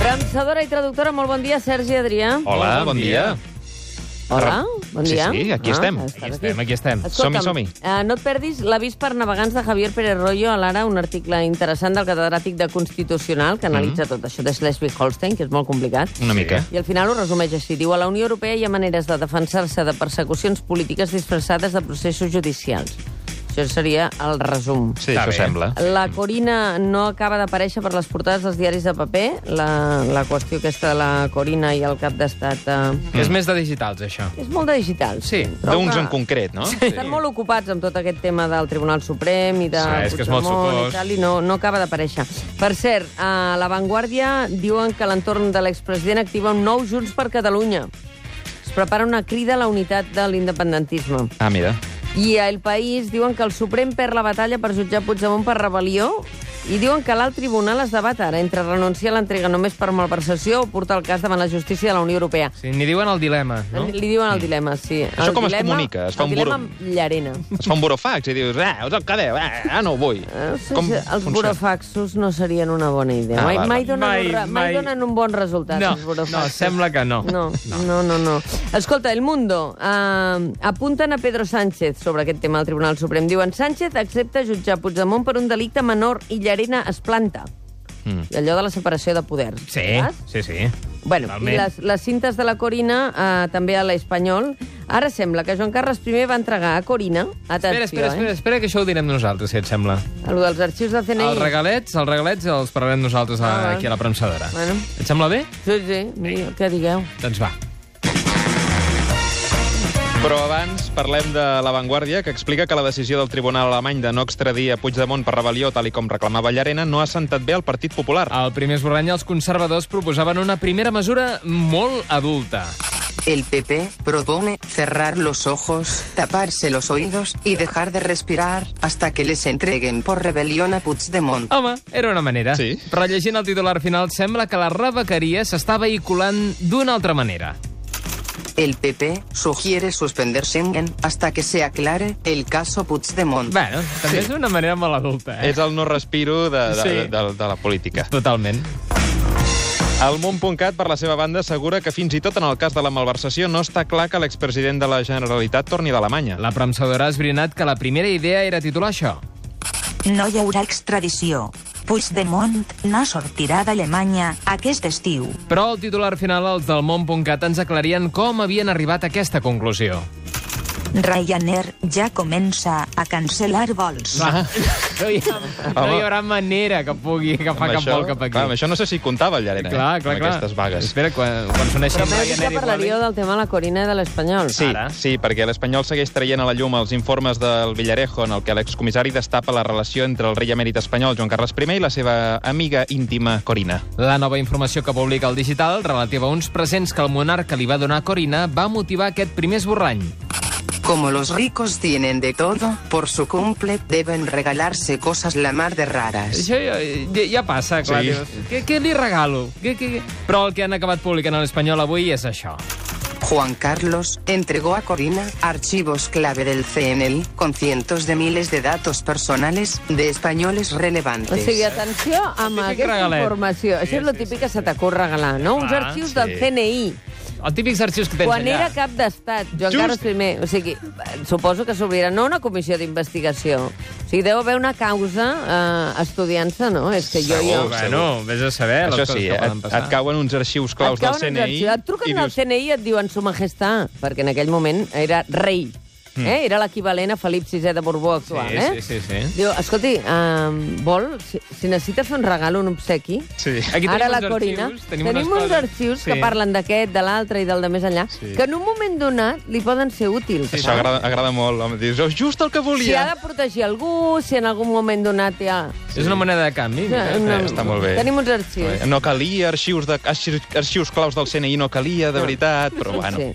pensadora i traductora. Molt bon dia, Sergi Adrià. Hola, bon dia. Hola, bon Sí, dia. Ah, sí, aquí estem. estàs Aquí estem, aquí estem. Escolta'm, Som-hi, som-hi. eh, no et perdis l'avís per navegants de Javier Pérez Royo a l'Ara, un article interessant del catedràtic de Constitucional que Mm. analitza tot això de Schleswig-Holstein, que és molt complicat. Una mica. I al final ho resumeix així. Diu, a la Unió Europea hi ha maneres de defensar-se de persecucions polítiques disfressades de processos judicials. Això seria el resum. Sí, això sembla. La Corina no acaba d'aparèixer per les portades dels diaris de paper. La, la qüestió aquesta de la Corina i el cap d'estat... Eh, Mm. És més de digitals, això. és molt de digital. Sí, Trobo D'uns que en concret, no? Sí. Estan molt ocupats amb tot aquest tema del Tribunal Suprem i de Sí, és que és molt Puigdemont i sucós. tal, i no, no acaba d'aparèixer. Per cert, a La Vanguardia diuen que l'entorn de l'expresident activa un nou Junts per Catalunya. Es prepara una crida a la unitat de l'independentisme. Ah, mira. I a El País diuen que el Suprem perd la batalla per jutjar Puigdemont per rebel·lió i diuen que l'alt tribunal es debat ara entre renunciar a l'entrega només per malversació o portar el cas davant la justícia de la Unió Europea. Sí, ni diuen el dilema, no? Li diuen el dilema, sí. Això El com es dilema, comunica? Es fa el un dilema burum. amb Llarena. Es fa un burofax i dius, ah, us el quedeu, ah, ah, no ho vull. Eh, No sé si els burofaxos no serien una bona idea. Ah, mai, val, mai, val. donen mai, un, Mai, re- mai mai. donen un bon resultat, No, els burofaxos. no, sembla que no. No, no, no. no. Escolta, El Mundo, eh, apunten a Pedro Sánchez sobre aquest tema al Tribunal Suprem. Diuen, Sánchez accepta jutjar Puigdemont per un delicte menor i Llarena es planta. Mm. I allò de la separació de poders. Hmm. Sí, saps? sí, sí. Bueno, i Totalment. les, les cintes de la Corina, eh, també a l'Espanyol. Ara sembla que Joan Carles I va entregar a Corina... Atenció, Espera, espera, espera, eh? espera, que això ho direm nosaltres, si et sembla. Allò dels arxius de CNI. Els regalets, els regalets els parlarem nosaltres Ah, a, val. aquí a la premsadora. Bueno. Et sembla bé? Sí, sí, mira, què digueu? Doncs va. Però abans parlem de La Vanguardia, que explica que la decisió del Tribunal Alemany de no extradir a Puigdemont per rebel·lió, tal i com reclamava Llarena, no ha sentat bé al Partit Popular. Al primer esborrany, els conservadors proposaven una primera mesura molt adulta. El PP propone cerrar los ojos, taparse los oídos y dejar de respirar hasta que les entreguen por rebelión a Puigdemont. Home, era una manera. Sí. Però llegint el titular final, sembla que la rebequeria s'està vehiculant d'una altra manera. El PP sugiere suspender Schengen hasta que se aclare el caso Puigdemont. Bueno, també és una manera molt adulta, eh? És el no respiro de, de, Sí. de, de, de la política. Totalment. El món.cat, per la seva banda, assegura que fins i tot en el cas de la malversació no està clar que l'expresident de la Generalitat torni d'Alemanya. La premsadora ha esbrinat que la primera idea era titular això. No hi haurà extradició. Puigdemont no sortirà d'Alemanya aquest estiu. Però al titular final, els del món.cat ens aclarien com havien arribat a aquesta conclusió. Ryanair ja comença a cancel·lar vols. Ah. Clar, no, hi ha, no hi haurà manera que pugui agafar Amb cap vol cap aquí. Clar, amb això no sé si comptava el Llarena, clar, eh, clar. amb clar. aquestes vagues. Espera, quan, quan s'uneixi Però amb m'heu dit Ryanair que i Vueling... parlaríeu del tema de la Corina i de l'Espanyol. Sí, Ara. sí, perquè l'Espanyol segueix traient a la llum els informes del Villarejo en el que l'excomissari destapa la relació entre el rei emèrit espanyol Joan Carles I i la seva amiga íntima Corina. La nova informació que publica el digital relativa a uns presents que el monarca li va donar a Corina va motivar aquest primer esborrany. Como los ricos tienen de todo, por su cumple deben regalarse cosas la mar de raras. Això ja, ja, ja passa, clar. Sí. dius, Què, què li regalo? Què, què, què? Però el que han acabat publicant a l'Espanyol avui és això. Juan Carlos entregó a Corina archivos clave del CNL con cientos de miles de datos personales de españoles O relevantes. sigui, atenció amb Sí, sí, aquesta regalet. informació. Això és lo típic que se t'acut regalar, no? Uns Clar, arxius sí. del CNI, Els típics arxius que tens quan allà. era cap d'estat, Joan Just. Carles I. O sigui, suposo que s'obrirà no una comissió d'investigació. O sigui, deu haver una causa eh, estudiant-se, no? És que jo... jo... Segur, Bueno, vés a saber Eh, les Això coses sí, eh, que et, poden passar. et cauen uns arxius claus Et cauen uns del CNI arxius. Et truquen del CNI i et diuen su majestà, perquè en aquell moment era rei. Eh? Era l'equivalent a Felip VI de Borbó actual, Hmm. Sí, eh? sí, sí, sí. Diu, escolti, um, vol, si, si necessita fer un regal, un obsequi, Sí. Aquí tenim Ara la uns arxius, Corina, tenim, tenim, unes uns coses. arxius sí. que parlen d'aquest, de l'altre i del de més enllà, Sí. que en un moment donat li poden ser útils. Això agrada, agrada molt, home. Dius, "Oh, just el que Si ha volia. de protegir algú, si en algun moment donat hi ha... És una moneda de canvi. eh? No, mira. no. està molt bé. Tenim uns arxius. No calia arxius, de, arxius, arxius claus del CNI, no calia, de veritat, però bueno. Sí.